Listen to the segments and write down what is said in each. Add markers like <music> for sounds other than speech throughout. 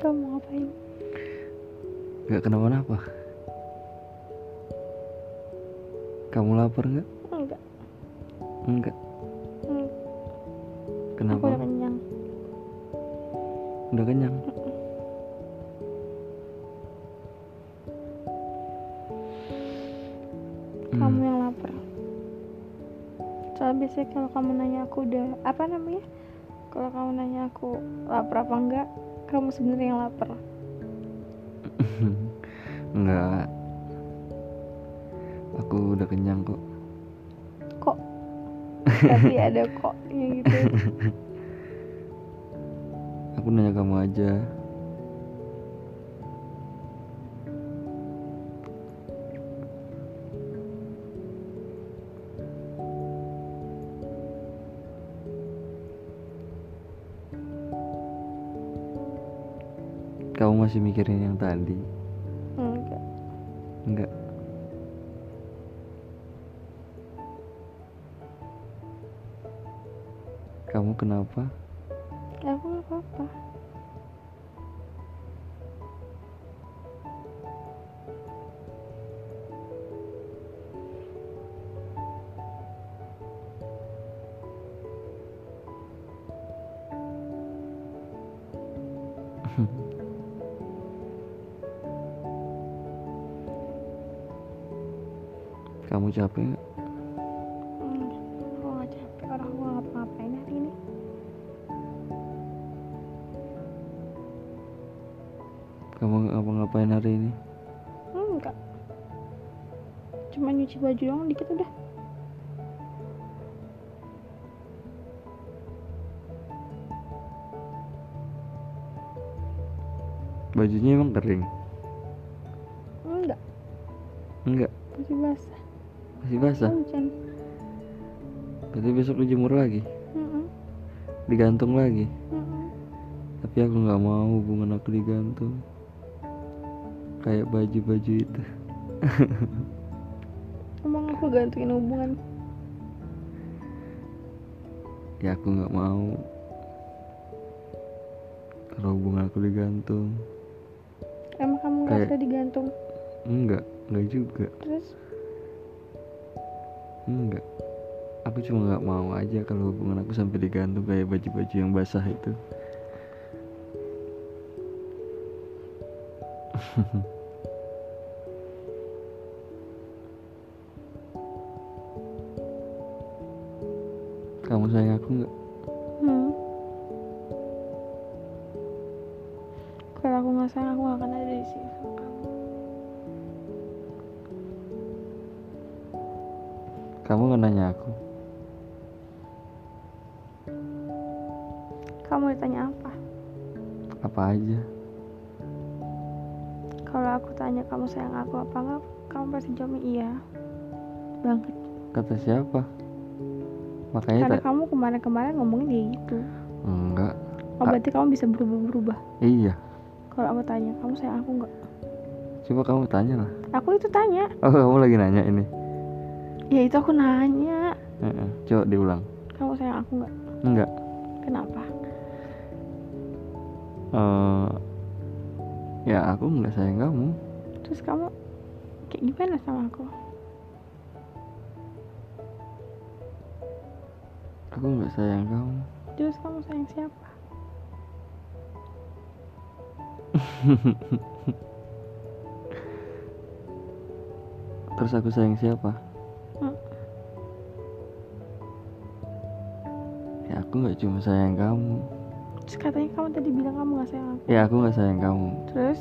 kamu ngapain? Gak kenapa-napa Kamu lapar nggak? Enggak, Enggak Hmm. aku udah Kenapa? kenyang. Udah kenyang Kamu ya? yang lapar. Soalnya biasanya kalau kamu nanya aku udah apa namanya? Kalau kamu nanya aku lapar apa enggak, kamu sebenarnya yang lapar. Hmm. <laughs> Enggak Aku udah kenyang kok Kok? Tapi ada kok yang gitu. Aku nanya kamu aja Kamu masih mikirin yang tadi? Enggak. Enggak Kamu kenapa? Ya Aku nggak apa-apa. Kamu capek nggak? Enggak. Hmm. Aku nggak capek. Orang aku nggak ngapain hari ini. Kamu ngapa ngapain hari ini? Enggak. Cuma nyuci baju doang dikit udah. Bajunya emang kering? Enggak. Enggak, Masih basah. masih basah. Hujan. Berarti besok dijemur lagi, Mm-mm. digantung lagi. Mm-mm. Tapi aku nggak mau hubungan aku digantung. Kayak baju-baju itu. Emang aku gantungin hubungan Ya aku nggak mau. Kalau hubungan aku digantung, Emang kamu Kayak- ngerasa digantung enggak, enggak juga, Terus enggak. Aku cuma nggak mau aja kalau hubungan aku sampai digantung kayak baju-baju yang basah itu. <laughs> Kamu sayang aku nggak? hmm. Kalau aku nggak sayang aku gak akan ada di sini sama kamu Kamu nggak nanya aku? Kamu ditanya apa? Apa aja? Kalau aku tanya kamu sayang aku apa enggak Kamu pasti jawabnya iya Banget Kata siapa? Makanya Karena tak kamu kemarin-kemarin ngomongnya kayak gitu enggak. Oh Ah. berarti kamu bisa berubah-berubah Iya. Kalau aku tanya kamu sayang aku nggak Coba kamu tanya lah. Aku itu tanya Oh kamu lagi nanya ini? Ya itu aku nanya Heeh. Coba diulang. Kamu sayang aku nggak Enggak. Kenapa? Eh, ya aku nggak sayang kamu. Terus kamu kayak gimana sama aku? Aku nggak sayang kamu. Terus kamu sayang siapa? Terus aku sayang siapa? Hmm. Ya aku nggak cuma sayang kamu. Terus katanya kamu tadi bilang kamu gak sayang aku. Ya aku nggak sayang kamu. Terus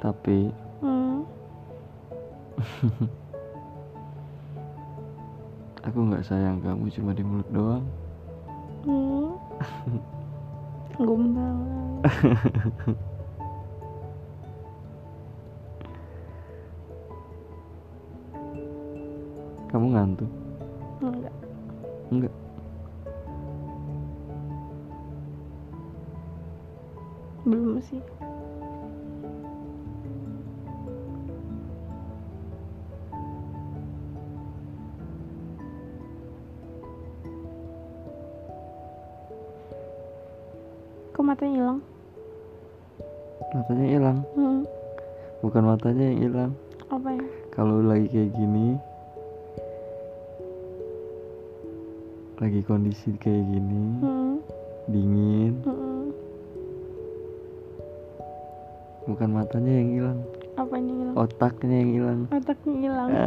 Tapi hmm, aku nggak sayang kamu cuma di mulut doang. hmm. Gombal Kamu ngantuk. Enggak Enggak. Belum sih kok matanya hilang matanya hilang hmm. bukan matanya yang hilang apa ya kalau lagi kayak gini lagi kondisi kayak gini hmm. dingin hmm. bukan matanya yang hilang apa yang hilang otaknya yang hilang otaknya hilang <laughs>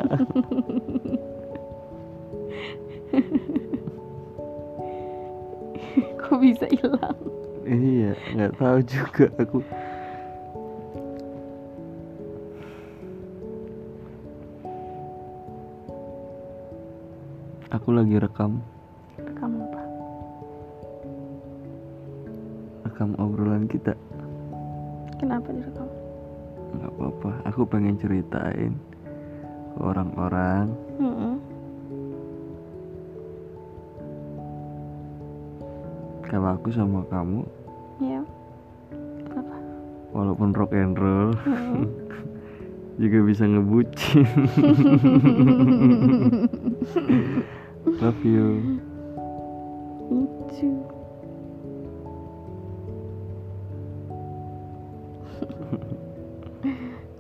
kok bisa hilang iya nggak tahu juga aku aku lagi rekam rekam apa rekam obrolan kita kenapa direkam nggak apa-apa aku pengen ceritain ke orang-orang hmm. kalau aku sama kamu ya kenapa walaupun rock and roll hmm. juga bisa ngebucin <laughs> love you itu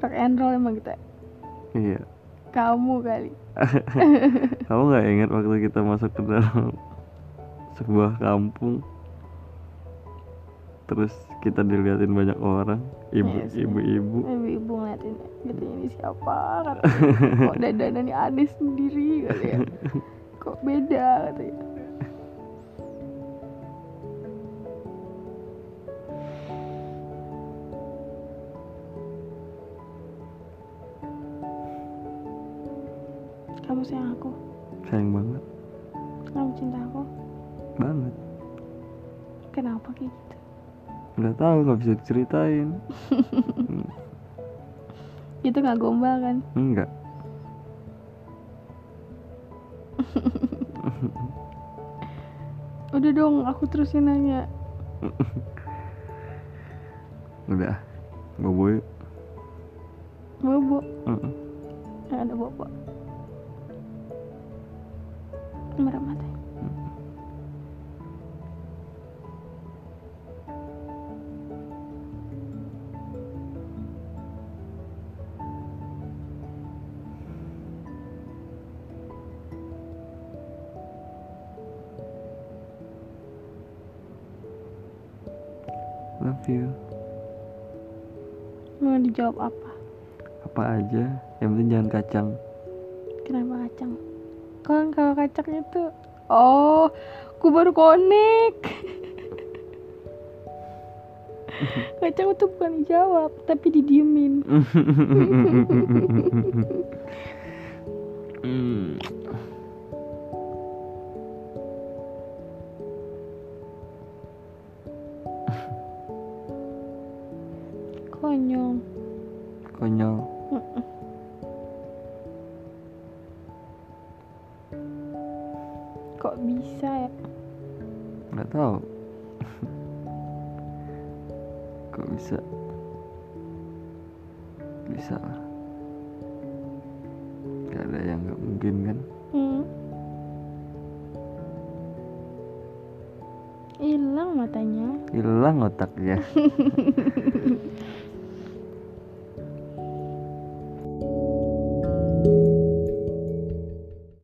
rock and roll emang kita iya kamu kali kamu nggak ingat waktu kita masuk ke dalam sebuah kampung terus kita diliatin banyak orang ibu Iya sih. ibu ibu ibu-ibu ngeliatin gitu ini siapa katanya. kok dadanya nih aneh sendiri kali ya kok beda katanya kamu sayang aku sayang banget kamu cinta aku banget kenapa kayak gitu nggak tahu nggak bisa diceritain itu nggak gombal kan enggak udah dong aku terus yang nanya udah bobo yuk. bobo Mm-mm. yang ada bobo merah mata love you mau dijawab apa apa aja yang penting jangan kacang kenapa kacang kan kalau kacang itu oh ku baru connect kacang itu bukan dijawab tapi didiemin Hmm. konyol konyol kok bisa ya nggak tahu kok bisa bisa lah nggak ada yang nggak mungkin kan Hmm. hilang matanya hilang otaknya